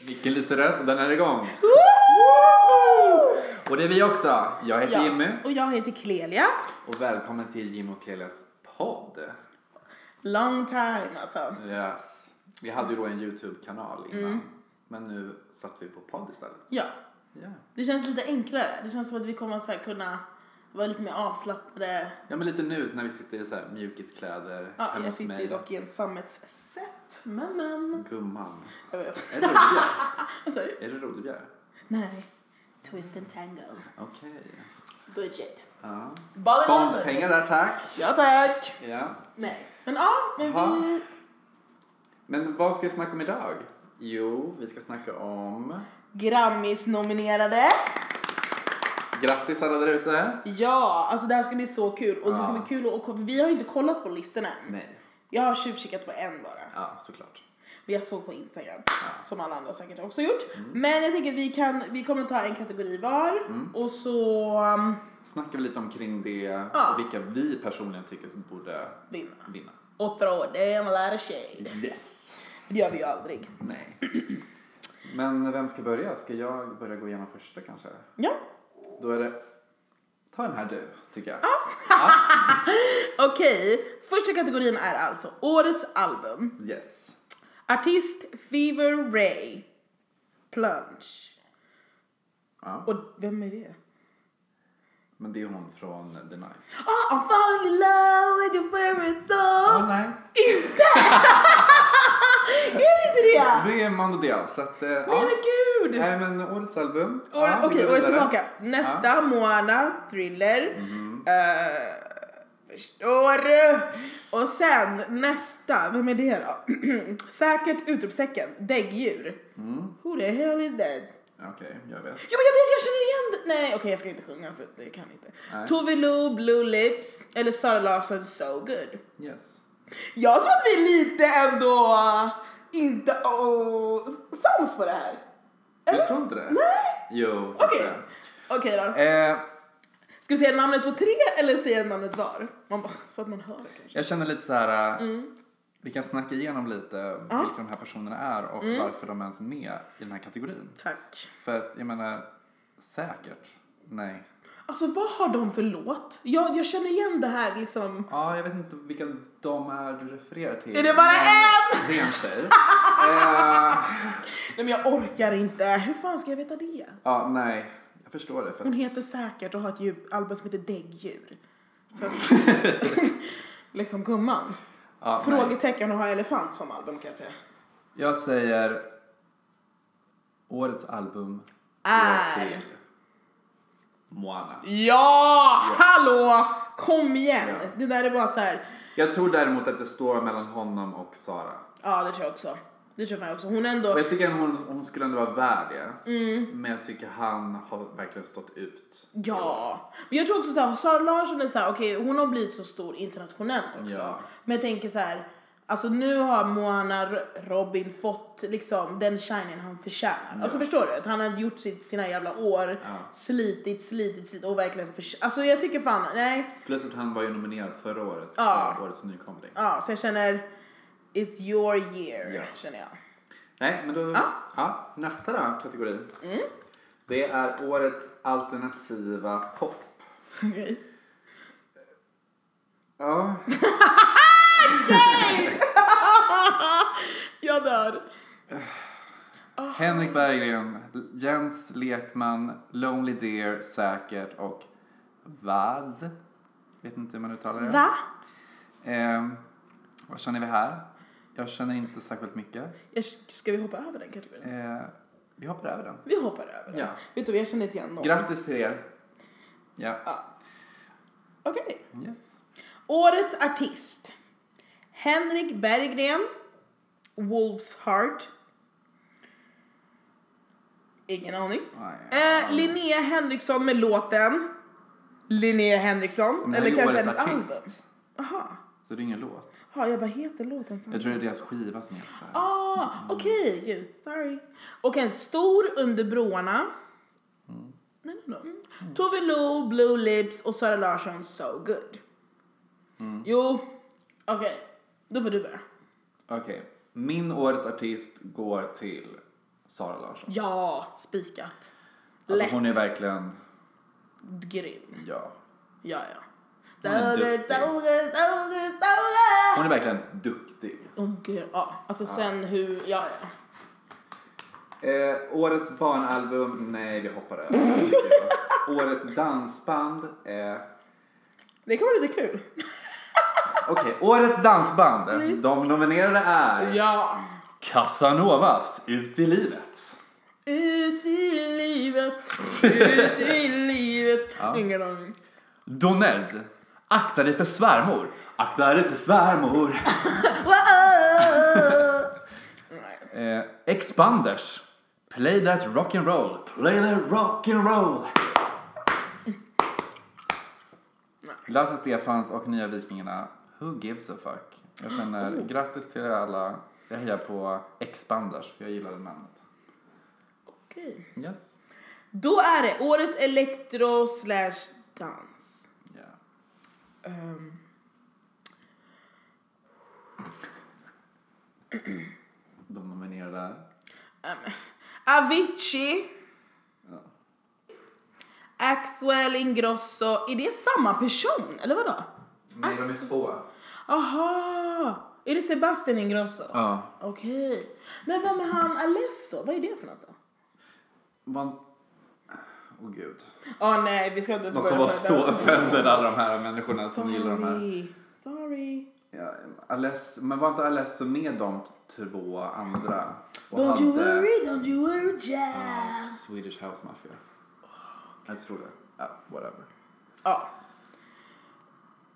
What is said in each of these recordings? Musiken lyser rött och den är igång. Och det är vi också. Jag heter Ja. Jimmy Och jag heter Clelia. och välkommen till Jim och Clelias podd. Long time alltså. Yes. Vi hade ju då en YouTube-kanal innan. Mm. Men nu satsar vi på podd istället. Ja, Ja. det känns lite enklare. Det känns som att vi kommer så här kunna vara lite mer avslappnade. ja, men lite nu så när vi sitter i så här mjukiskläder Ja, hemma jag hos sitter ju mig. dock i en sammetssätt. Men, men. Gumman. Jag vet. Är det Rodebjer? Vad sa du? är det Rodebjer? Nej. Twist and tango. Okej. Budget. Ja. Bara Sponspengar där tack. Ja, tack. Ja. Nej. Men ja, men Jaha. vi... Men vad ska vi snacka om idag? Jo, vi ska snacka om... Grammis-nominerade. Grattis alla där ute. Ja, alltså det här ska bli så kul. Och det ska Ja. bli kul att... för Vi har ju inte kollat på listorna än. Nej. Jag har tjuvkikat på en bara. Ja, såklart. Men jag såg på Instagram, som alla andra säkert också gjort. Men jag tänker att vi, kan, vi kommer ta en kategori var och så um, Snackar vi lite omkring det Ja. och vilka vi personligen tycker som borde vinna. vinna. Åtta år, damn a lot of shade. Yes! Det gör vi ju aldrig. Nej. Men vem ska börja? Ska jag börja gå igenom första kanske? Ja, Då är det... Ta den här du, tycker jag. okej. Första kategorin är alltså årets album. Yes. Artist Fever Ray. Plunge. Ja. Och vem är det? Men det är hon från The Knife. Ah, I'm falling in love with your favorite Åh song. nej! Inte! är det inte det? Det är Mando Diao, så att... eh, Nej Ja. men gud! Nej men årets album. År, Ja, vi Okej, går året vidare. tillbaka. Nästa, Moana, Thriller. Mhm. Eh, förstår du? Och sen nästa, vem är det då? Säkert utropstecken, däggdjur. Mm. Who the hell is that? Okej, jag vet. Jo men jag vet, jag känner igen Nej okej jag ska inte sjunga för det kan jag inte. Nej. Tove Lo, Blue Lips eller Sara Larsson, So Good. Yes. Jag tror att vi lite ändå inte oh, sams på det här. Du tror inte det? Nej! Jo, jag Eh, Okej. tror det. Okej då. Eh, Ska vi säga namnet på tre eller säga namnet var? Man bara, så att man hör det kanske. jag känner lite så här. eh, Mm. Vi kan snacka igenom lite vilka de här personerna är och Mm. varför de ens är med i den här kategorin. Tack. För att jag menar, säkert? Nej. Alltså vad har de för låt? Jag, jag känner igen det här liksom. Ja, jag vet inte vilka de är du refererar till. Är det bara men Det är en tjej. eh, Nej men jag orkar inte. Hur fan ska jag veta det? ja, nej. Jag förstår det. För Hon att- heter säkert och har ett djup, album som heter Däggdjur. Så att, liksom gumman. ja, nej. Frågetecken och har elefant som album kan jag säga. Jag säger årets album Är. går till Moana. Ja! Hallå! Kom igen! Ja. Det där är bara så här. Jag tror däremot att det står mellan honom och Sara. Ja det tror jag också. Det tror jag också. Hon är ändå... Och jag tycker att hon, hon skulle ändå vara värd det. Mm. Men jag tycker han har verkligen stått ut. Ja, men jag tror också såhär, Sara Larsson är såhär, okej hon har blivit så stor internationellt också. Ja. Men jag tänker såhär, alltså nu har Moana R- Robin fått liksom den shinen han förtjänar. Alltså förstår du? Att han har gjort sitt, sina jävla år, slitit, slitit, slitit och verkligen förtjänat. Alltså jag tycker fan, nej. Plus att han var ju nominerad förra året Ja. för årets nykomling. Ja, så jag känner, it's your year, Ja. känner jag. Nej, men då... Ja. nästa då, kategori. Mm. Det är årets alternativa pop. Okej. Ja, Jag dör. Henrik Berggren, Jens Lekman, Lonely Deer säkert och Vaz. Vet inte hur man uttalar det. Va? Eh, vad känner vi här? Jag känner inte särskilt mycket. Jag, ska vi hoppa över den kategorin? Eh, vi hoppar över den. Vi hoppar över den. Ja. Vet du, jag känner inte igen någon. Grattis till er. Ja. Okej. Yes. Årets artist. Henrik Berggren, Wolves Heart. Ingen aning. Nej. Eh, Linnea Henriksson med låten Linnea Henriksson. Men det här Eller är kanske årets hennes album. artist. Aha. Så det är ingen låt. Ja, jag bara heter låten så. Jag tror det är deras skiva som heter så här. Ah, okej. Gud, sorry. Och en stor under broarna. Nej, nej, nej. Tove Lo, Blue Lips och Sara Larsson, So Good. Jo, okej. Då får du börja. Okej. Min årets artist går till Sara Larsson. Ja, spikat. Alltså Lätt. hon är verkligen, Grym. ja. Ja, ja. Hon är Saure, duktig. saure, saure, saure. Hon är verkligen duktig. Åh gud, ja. Alltså sen hur, ja, ja. Eh, årets barnalbum, nej vi hoppar över. tycker jag. årets dansband, eh, Det kan vara lite kul. okej, årets dansband, eh, de nominerade är Mm. Ja. Casanovas Ut i livet. Ut i livet, ut i livet. Ingen aning. Donez, Akta dig för svärmor, akta dig för svärmor. Nej. Eh, Expanders, Play that rock'n'roll, play that rock'n'roll. Lasse Stefans och Nya Vikingarna, Who gives a fuck? Jag känner grattis till er alla. Jag hejar på Expanders, för jag gillade namnet. Okej. Yes. Då är det årets elektro slash dans. Yeah. Ehm. De nominerade är Avicii. Ja. Axwell Ingrosso. Är det samma person, eller vadå? Nej, de är två. Aha! Är det Sebastian Ingrosso? Ja. Okej. Men vem är han Alesso? Vad är det för något då? Man... Åh gud. Åh nej, vi ska inte ens De kommer vara så prata. offended alla de här människorna som gillar de här. Sorry. Sorry. Ja, Aless, men var inte Alesso med de två andra? Och Don't you worry, don't you worry Jack. Ja, Swedish House Mafia. Oh, Jag tror det. Ja, whatever. Ja.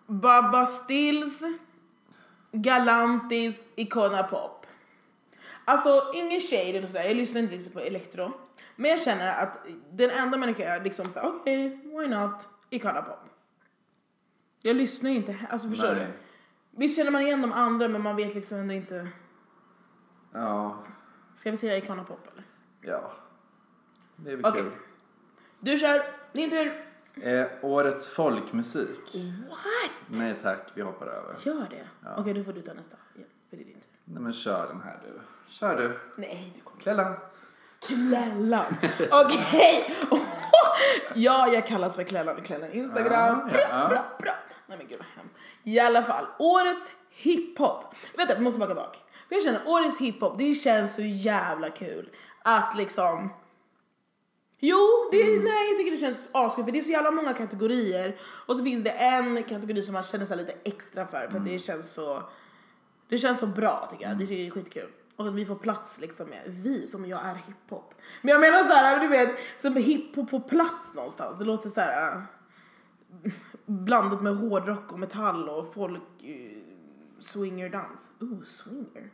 Baba Stills, Galantis, Icona Pop. Alltså ingen shade eller sådär, jag lyssnar inte liksom på elektro. Men jag känner att den enda människan jag liksom såhär, okej, why not, Icona Pop. Jag lyssnar ju inte, alltså Nej. förstår du? Visst känner man igen de andra men man vet liksom ändå inte. Ja, Ska vi säga Icona Pop eller? ja. Det är väl Okej. Du kör, din tur. kul. Eh, årets folkmusik. What? Nej tack, vi hoppar över. Gör det? Okej, då får du ta nästa igen, för det är din tur. Nej men kör den här du. Kör du. Nej, du kommer. Klällan. Klällan. Okej. ja, jag kallas för Klällan. Klällan Instagram. Ja, ja. Bra, bra, bra. Nej men gud vad hemskt. I alla fall, årets hiphop. Vänta, vi måste backa bak. För jag känner, årets hiphop, det känns så jävla kul. Att liksom... Jo, det, Mm. nej jag tycker det känns askul för det är så jävla många kategorier. Och så finns det en kategori som man känner sig lite extra för för att Mm. det känns så... Det känns så bra tycker jag, det tycker jag är skitkul. Och att vi får plats liksom med, vi som jag är hiphop. Men jag menar så här, du vet, som hiphop på plats någonstans. Det låter så här äh, blandat med hårdrock och metall och folk, uh, swingerdans. Oh, swinger.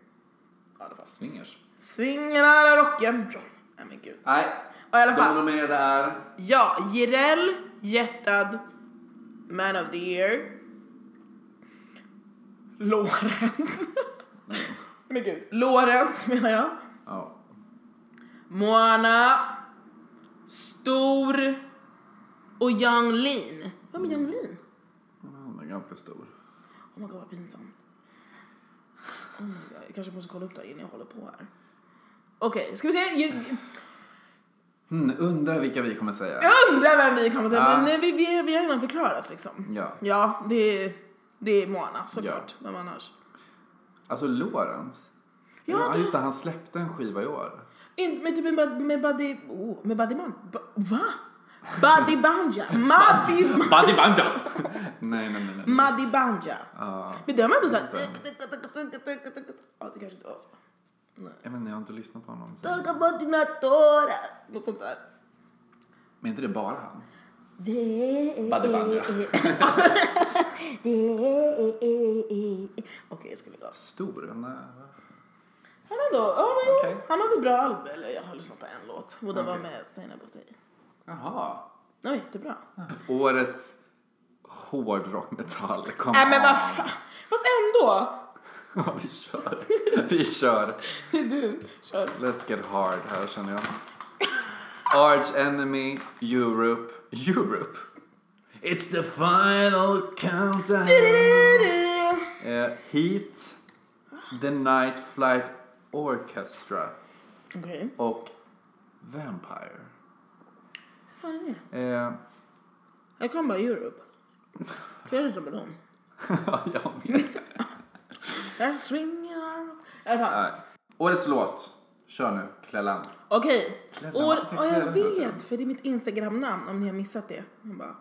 Ja, det fanns. Swingers. Swingen är rock'n'roll. Nej men gud. Nej. Ja, i alla De fall. nominerade är... Ja, Jireel, jättad, man of the year. Lorentz. Mm. Men gud, Lorentz menar jag. Ja. Moana, Stor och Yang Lean. Vem är Yang Lean? Hon är ganska stor. Oh my god vad pinsamt. Oh my god, jag kanske måste kolla upp det här innan jag håller på här. Okej, ska vi se? Jag, Hmm, undrar vilka vi kommer säga. jag undrar vem vi kommer säga, Ja. men nej, vi, vi, vi har redan förklarat liksom. Ja. Ja, det är, det är Moana såklart. Vem annars? Alltså Lorentz. Ja, Ja, det- just det. Han släppte en skiva i år. In, med typ en bud- med Buddy... Oh, med Buddy Man... Bu- Va? Buddy Banja. Maddy... Buddy Banda! nej, nej, nej. nej. Maddy Banja. Ja. Men det var ändå såhär... Ja, det kanske inte var så. Jag vet inte, jag har inte lyssnat på honom. Så. Torka bort dina tårar. Något sånt där. Men inte det bara han? Det Buddy Banja. Okej, jag skulle gå. Stor? Han är... Han ändå... Ja, men jo, Okej. Han hade bra album. Eller jag har lyssnat på en låt. Och det var Okej. med Zainab och Zayn. Jaha. Den var jättebra. Årets hårdrockmetall. Kom Nej Äh, men on. vad fan. Fast ändå. Ja, vi kör. Vi kör. Du, kör. Let's get hard här känner jag. Arch Enemy, Europe. Europe? It's the final countdown. Eh, Heat, The Night Flight Orchestra. Okej. Okay. och Vampire. Vad fan är det? Eh, Jag kan bara Europe. Kan jag rita med dem? jag med. Jag svingar. I alla fall. Nej. Årets låt. Kör nu, Clellan. Okej. Kläderna, År, varför och säger jag kläderna hela tiden? vet, för det är mitt Instagram-namn om ni har missat det. Man bara,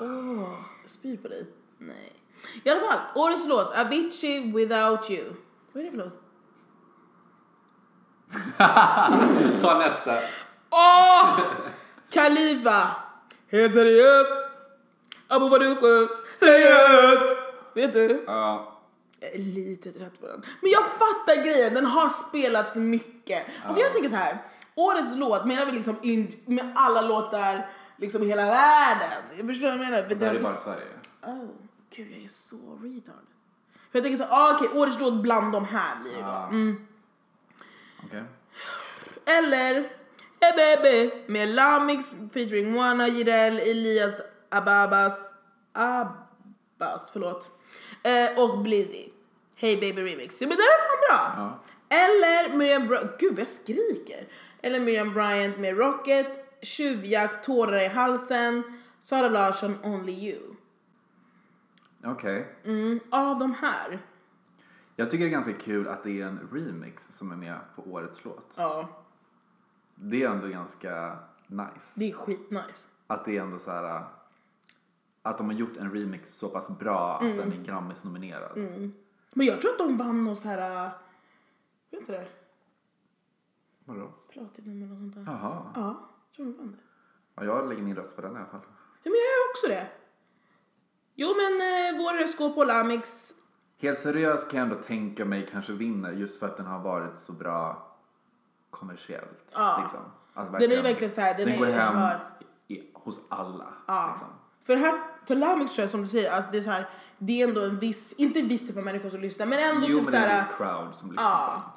åh, spyr på dig. Nej. I alla fall, årets låt, Avicii Without You. Vad är det för låt? Ta nästa. Åh! Khalifa! Helt seriöst! Abu Baduku! Seriöst! Vet du? Ja. Jag är eh, lite trött på den. Men jag fattar grejen, den har spelats mycket. Alltså jag tänker så här. årets låt menar vi liksom in, med alla låtar liksom i hela världen. Jag förstår vad jag menar. Alltså, det här är bara Sverige. oh, gud jag är så retard. För jag tänker så här, ah, okej årets låt bland de här blir det då. Ja. Okej. Eller Hey baby med Lamix featuring Moana Jireel, Elias Ababas, Abbas, förlåt. Eh, och Blizzy. Hey baby remix. Ja, men den är fan bra. Ja. Eller Miriam Bryant, gud vad jag skriker. Eller Miriam Bryant med Rocket, Tjuvjakt, Tårar i halsen, Sara Larsson, Only You. Okej. Mm, av de här. Jag tycker det är ganska kul att det är en remix som är med på årets låt. Ja, Det är ändå ganska nice. det är skitnice. Att det är ändå så här äh, att de har gjort en remix så pass bra Mm. att den är Grammis-nominerad. Men jag tror att de vann någon så här, äh, vet inte det, Vadå? platinum eller något sånt där. Jaha. Ja, jag tror de vann det. Ja, jag lägger min röst på den i alla fall. Ja, men jag gör också det. Jo, men eh, vår röst går på Lamix. Helt seriöst kan jag ändå tänka mig kanske vinner just för att den har varit så bra kommersiellt. Ja. Liksom. Att Den är verkligen så här, den, den är, går hem hör. i, hos alla. Ja. Liksom. För här, för Lamix tror jag som du säger, alltså det är så här, det är ändå en viss, inte en viss typ av människor som lyssnar, men ändå Jo, typ men så det är en här. viss crowd som lyssnar på Ja. den.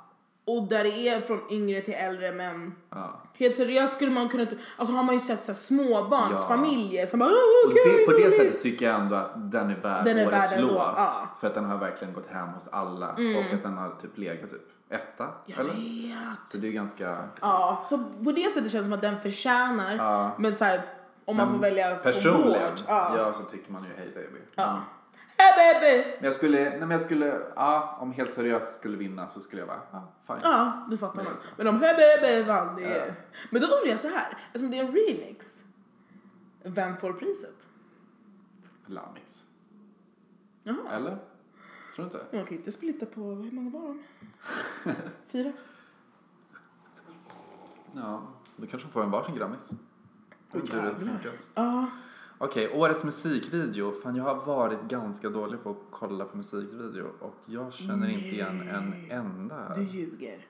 Och där det är från yngre till äldre men Ja. Helt seriöst skulle man kunna, typ- alltså har man ju sett så här småbarnsfamiljer som bara Och oh, det, på det sättet tycker jag ändå att den är värd Den är årets värd ändå, låt. ja. Mm. För att den har verkligen gått hem hos alla och att den har typ legat typ etta. Jag Eller? vet. Så det är ganska... Ja, så på det sättet känns det som att den förtjänar. Ja. Men så här, om man får välja Personligen, från vårt. ja. Ja. så tycker man ju Hey Baby. ja. Hey baby! Men jag skulle, nej men jag skulle, ja, om helt seriöst skulle vinna så skulle jag bara, ja, fine. Ja, det fattar Nej, man. så. Men om Hey baby vann det är... Ja. Men då undrar jag så här, eftersom det är en remix. Vem får priset? Lammix. Jaha, Eller? Tror du inte? man kan ju inte splitta på, hur många var de? Fyra? Ja, då kanske hon får en varsin Grammis. Jag vet inte hur det jävlar. funkar. Ja. Okej, årets musikvideo. Fan, jag har varit ganska dålig på att kolla på musikvideo och jag känner inte igen en enda. Du här. ljuger.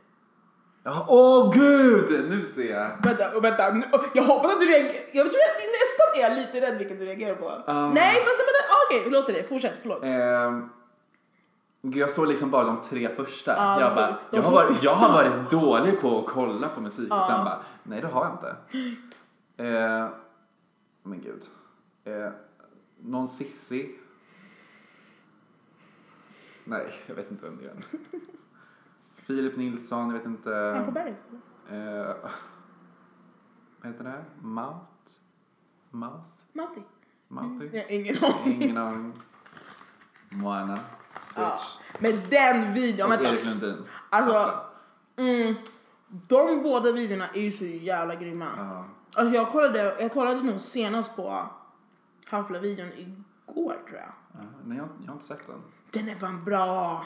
Ja, åh gud! Nu ser jag. Vänta, och vänta. nu- och Jag hoppas att du reagerar. Jag tror att nästan är jag lite rädd vilken du reagerar på. Ah. Nej, fast nej, men okej, vi låter det. Fortsätt, förlåt. Ehm, gud, jag såg liksom bara de tre första. Ja, jag, så- bara, de jag, har två varit, sista. jag har varit dålig på att kolla på musik och Ja. sen bara, nej det har jag inte. Ehm, men gud. Ehm, någon Sissi? Nej, jag vet inte vem det är. Filip Nilsson, jag vet inte. Han på berget. Eh, vad heter det här? Mount? Mouth? Mouthy. Mouthy? Jag har ingen aning. Ingen aning. Moana? Ja. Switch? Men den videon, Och vänta. Erik Lundin? Alltså, Afra. Mm, de båda videorna är ju så jävla grymma. Ja. Alltså jag kollade, jag kollade nog senast på Half-Life-videon igår tror jag. Ja, nej, jag, jag har inte sett den. Den är fan bra!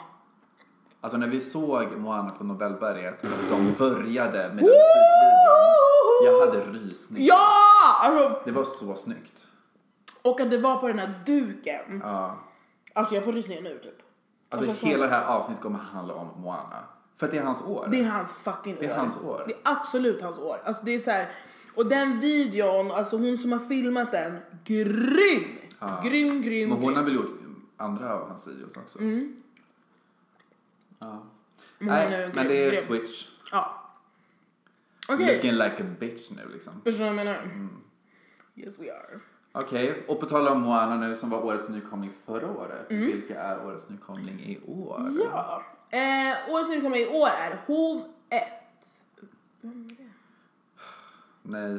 Alltså när vi såg Moana på Nobelberget och de började med den musikvideon. Jag hade rysning. Ja! Alltså, Det var så snyggt. och att det var på den här duken. Ja. Alltså jag får rysningar nu typ. Alltså Alltså, hela det här avsnittet kommer handla om Moana. För att det är hans år. Det är hans fucking år. Det är hans år. Det är absolut hans år. Alltså det är så här, och den videon, alltså hon som har filmat den, grym! Ja. Grym, grym, Men hon grym. har väl gjort andra av hans videos också? Mm. Ja. Nej, nu- men det är grym. switch. Ja. Okej, Looking like a bitch nu liksom. förstår du vad jag menar? Yes we are. Okej, och på tal om Moana nu som var årets nykomling förra året. Vilka är årets nykomling i år? E. Ja. Eh, årets nykomling i år är Hov 1. Vem är det? Nej.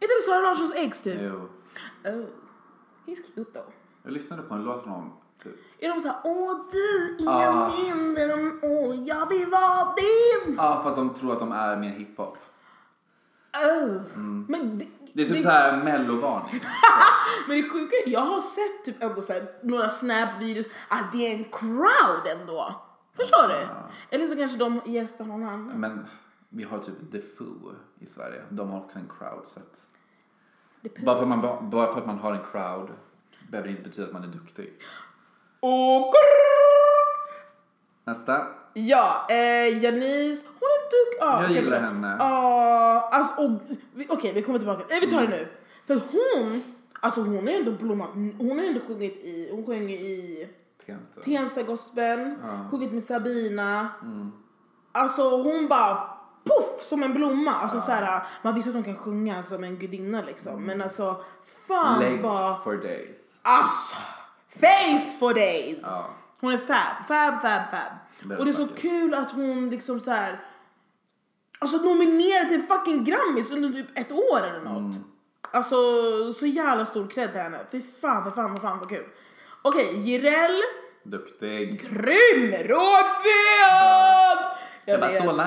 Är det det Sara Larssons ex typ? Jo. Oh. He's cute though. Jag lyssnade på en låt från honom, typ. Är de såhär, åh du är Ah. min vän och jag vill vara din. Ja, fast de tror att de är mer hiphop. Oh. Men, det, Det är typ det- så här mellovarning. men det sjuka är, jag har sett typ ändå så här, några snap-videos att det är en crowd ändå. Förstår du? Ah. Eller så kanske de gästar någon annan. Men vi har typ The Foo i Sverige. De har också en crowd. Så att The Pooh. bara, för att man, ba- bara för att man har en crowd behöver det inte betyda att man är duktig. Och grrrr. Nästa. Ja, eh, Janice, hon är duk... Ah, Jag gillar henne. Ja, alltså, och vi- okej vi kommer tillbaka. Nej, vi tar Mm. det nu. För att hon, alltså hon har ändå blommat, hon har ändå sjungit i, hon sjöng i Tensta. Tensta-gospeln, sjungit med Sabina. Mm. Alltså hon bara poff som en blomma. Alltså såhär, man visste att hon kan sjunga som en gudinna liksom. Mm. Men alltså fan vad, Legs for days. alltså face for days. Ja. Hon är fab, fab, fab, fab. Väldigt och det är så vacker. kul att hon liksom så här. Alltså nominerad till en fucking Grammis under typ ett år eller något. Mm. Alltså så jävla stor cred till henne. Fy fan, för fan, för fan vad kul. Okej, Jireel. Duktig. Grym! Rågsved! Jag bara vet. Solna.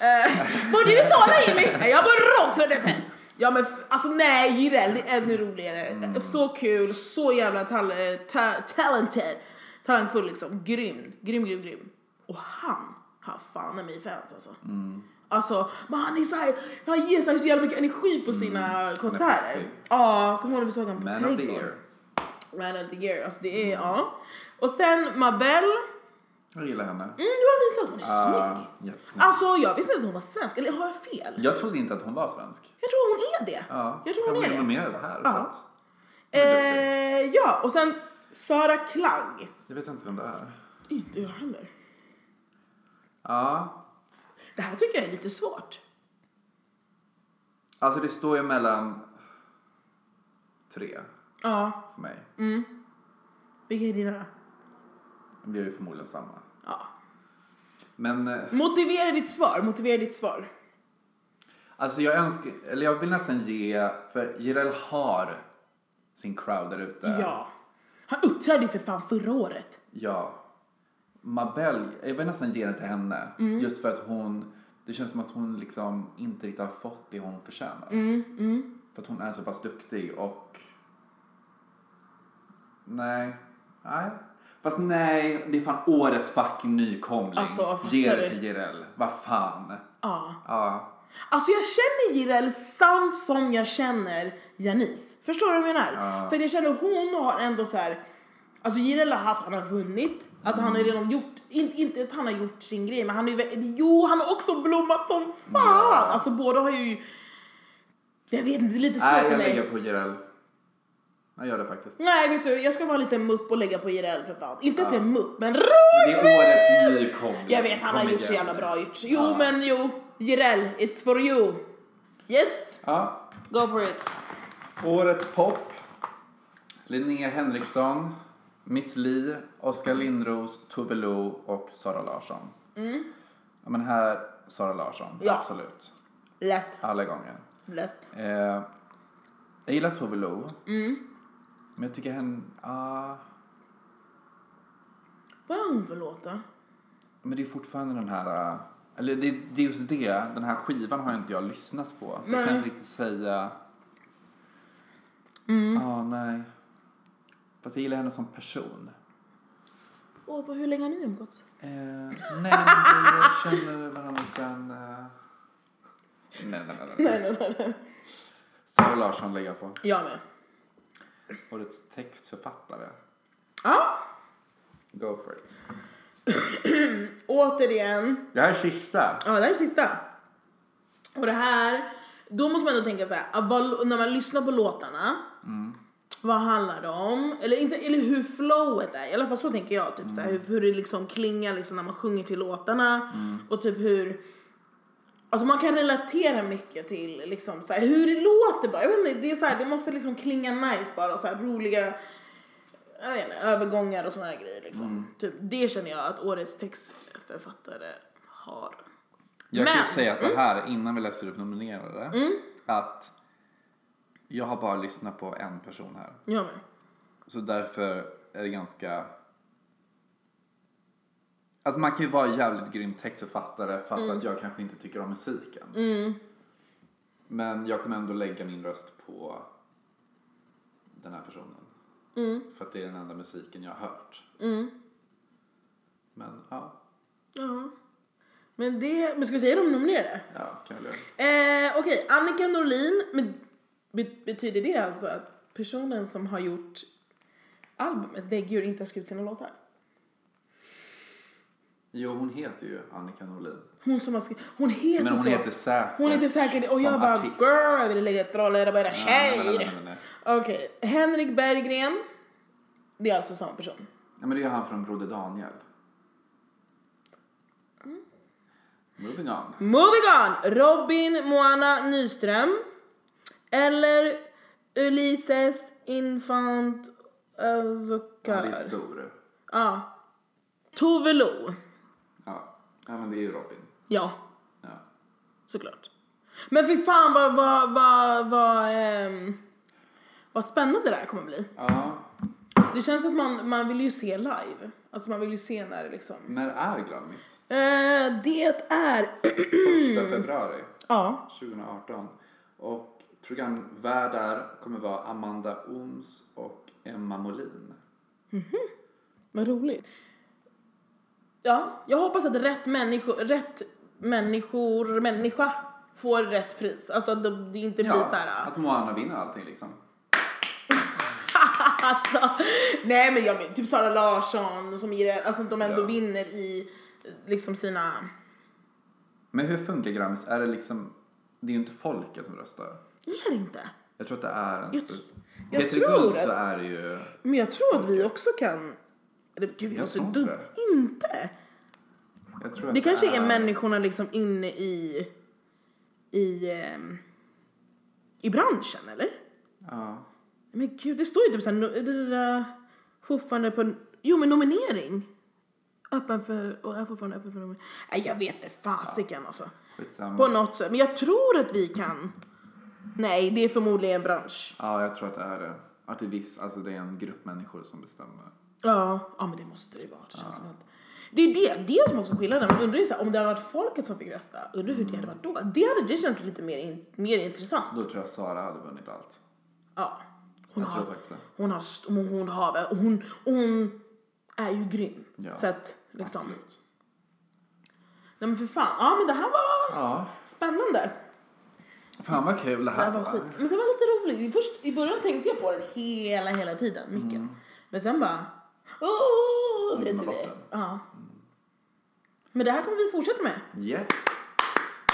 Eh, Bor du i Sala Jimmy? Nej, jag bor i Rågsved. vet du. Ja men f- alltså nej, Jireel det är ännu roligare. Mm. Så kul, så jävla tal- eh, ta- talented. Talangfull liksom. Grym, grym, grym, grym. Och han har fan i mig fans alltså. Mm. Alltså, men han är såhär, han ger såhär så jävla mycket energi Mm. på sina konserter. peppig. Ja, kommer ihåg när vi såg honom på Man of the Trädgården? year. Man of the year, alltså det är, ja. Och sen Mabel. Jag gillar henne. Mm, du har visat att hon är Ah, snygg. jättesnygg. Alltså jag visste inte att hon var svensk, eller har jag fel? Jag trodde inte att hon var svensk. Jag tror hon är det. Ja. jag tror hon är blev det. nominerad här. Ja. Så att, Eh, ja, och sen Sara Klang. jag vet inte vem det är. Inte jag heller. Ja. Det här tycker jag är lite svårt. Alltså det står ju mellan tre Ja, för mig. Mm. vilka är dina? Vi är ju förmodligen samma. Ja. Men eh, Motivera ditt svar, motivera ditt svar. alltså jag önskar, eller jag vill nästan ge, för Jireel har sin crowd där ute. Ja. Han uppträdde ju för fan förra året. Ja. Mabel, jag vill nästan ge den till henne. Mm. Just för att hon, det känns som att hon liksom inte riktigt har fått det hon förtjänar. Mm, För att hon är så pass duktig och... Nej. Nej. Fast nej, det är fan årets fucking nykomling. Alltså, fattar Ge du? det till Jireel. Vad fan. Ja. Ja. Alltså jag känner Jireel samt som jag känner Janice. Förstår du vad jag menar? För jag känner hon har ändå så här. Alltså Jireel har haft, han har vunnit. Alltså han har redan gjort, in, inte att han har gjort sin grej men han är ju vä- jo han har också blommat som fan. Ja. Alltså båda har ju, jag vet inte, det är lite svårt Nej, för jag mig. lägger på Jireel. Jag gör det faktiskt. Nej vet du, jag ska vara lite mupp och lägga på Jireel för fan. Inte att jag är mupp men Det är årets nykomling. Jag vet han har Kom gjort så igen. jävla bra gjort. Jo men jo, Jireel, it's for you. Yes, Ja. go for it. Årets pop. Linnea Henriksson, Miss Li, Oskar Lindros, Tove Lo och Sara Larsson. Ja, men här, Sara Larsson. Mm. Ja. Absolut. Lätt, Alla gånger. lätt. Eh, jag gillar Tove Lo. Mm. Men jag tycker henne... ah, Vad är hon för låt då? men det är fortfarande den här... ah, eller det, det är just det. Den här skivan har inte jag lyssnat på. Så jag kan Nej. inte riktigt säga... Mm. ah, nej. Fast jag gillar henne som person. Åh, på hur länge har ni umgåtts? Eh, nej, men vi eh, känner varandra sen... Eh... Nej, nej, nej. nej. Nej, nej, nej. nej. Sara Larsson lägger jag på. Jag med. Årets textförfattare. Ja, Go for it. återigen. Det här är sista. Ja, det här är sista. Och det här, då måste man ändå tänka så här, att vad, när man lyssnar på låtarna, vad handlar det om? Eller, inte, eller hur flowet är, i alla fall så tänker jag. Typ, så här, hur, hur det liksom klingar liksom, när man sjunger till låtarna och typ hur Alltså man kan relatera mycket till liksom så här, hur det låter bara. Jag vet inte, det är så här, det måste liksom klinga nice bara och så här roliga jag vet inte, övergångar och såna här grejer liksom. Typ, det känner jag att årets textförfattare har. Jag kan Men- Mm. ju säga så här innan vi läser upp nominerade. Att jag har bara lyssnat på en person här. Jag med. Så därför är det ganska... Alltså man kan ju vara en jävligt grym textförfattare fast Mm. att jag kanske inte tycker om musiken. Men jag kommer ändå lägga min röst på den här personen. Mm. För att det är den enda musiken jag har hört. Men ja, Ja. Men det, men ska vi säga de nominerade? ja kan jag väl göra. Eh, Okej, Annika Norlin. Men bet- betyder det alltså att personen som har gjort albumet Däggdjur inte har skrivit sina låtar? Jo, hon heter ju Annika Norlin. Hon som har skrivit, hon heter Men hon så. heter säkert hon heter säkert och jag som bara artist. girl, jag ville lägga ett troll i bara Nej, nej, nej, nej, tjej. nej, nej. Okej, Henrik Berggren. Det är alltså samma person. Nej, men det är han från Broder Daniel. Mm. Moving on. Moving on! Robin Moana Nyström. Eller Ulysses Infant Han är Azucar. stor. Ja. Tove Lo. Ja. ja, men det är ju Robin. Ja, Ja. såklart. Men fy fan vad, vad, vad, vad, ehm, vad spännande det här kommer bli. ja. Det känns att man, man vill ju se live. Alltså man vill ju se när det liksom. När är Glammis? Eh, det är, Första februari ja, 2018. Och programvärdar kommer vara Amanda Ooms och Emma Molin. vad roligt. Ja, jag hoppas att rätt människor, rätt människor, människa får rätt pris. Alltså att det det inte blir så här. att Moana vinner allting liksom. Alltså, nej men jag men, typ Sara Larsson som ger, alltså de ändå Ja. vinner i liksom sina, Men hur funkar Grammis? Är det liksom... Det är ju inte folket som röstar. är det inte? Jag tror att det är en... spec- jag Heter tror det guld att- så är det ju... Men jag tror att vi också kan, eller gud jag är Jag så tror inte dum, det. inte? Jag tror att Det kanske är människorna liksom inne i, i, ehm, i branschen eller? Ja. Men gud det står ju typ såhär, no, det där, fortfarande på, jo men nominering. Öppen för, och är fortfarande öppen för nominering. Nej jag vet inte fasiken alltså. Skitsamma. På något sätt. Men jag tror att vi kan. Nej, det är förmodligen en bransch. Ja, jag tror att det är det. Att det är viss, alltså det är en grupp människor som bestämmer. Ja, ja men det måste det vara. Det, känns som att... det är det, det som också är skillnaden. Man undrar ju så här, om det hade varit folket som fick rösta, undrar hur det hade varit då? Det hade det känns lite mer, in, mer intressant. Då tror jag Sara hade vunnit allt. Ja. Hon Jag har, tror faktiskt det. hon har, st- hon, hon har, och hon, och hon är ju grym. Ja, Så att liksom, Absolut. nej men för fan. Ja men det här var Ja. spännande. Fan vad kul det Det här här var skit. Men det var lite roligt. Först, I början tänkte jag på den hela, hela tiden, mycket. Men sen bara... Åh, det är glömmer du bort är. den. Ja. Men det här kommer vi fortsätta med. Yes.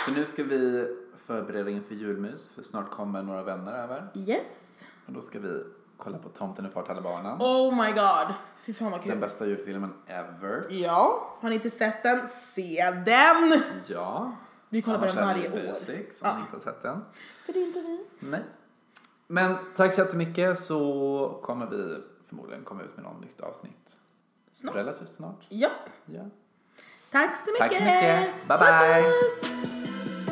Så nu ska vi förbereda inför julmys för snart kommer några vänner över. Yes. Och då ska vi kolla på Tomten är far till barnen. Oh my god. Fy fan vad Den kul. bästa julfilmen ever. Ja, har ni inte sett den, se den! Ja. Vi kollar på Annars den är det varje ju år. Basics om Ja. ni inte har sett den. För det är inte vi. Nej. Men tack så jättemycket så kommer vi förmodligen komma ut med något nytt avsnitt. Snart. Relativt snart. Japp. Ja. Tack så mycket. Tack så mycket. Bye, Puss, bye. puss.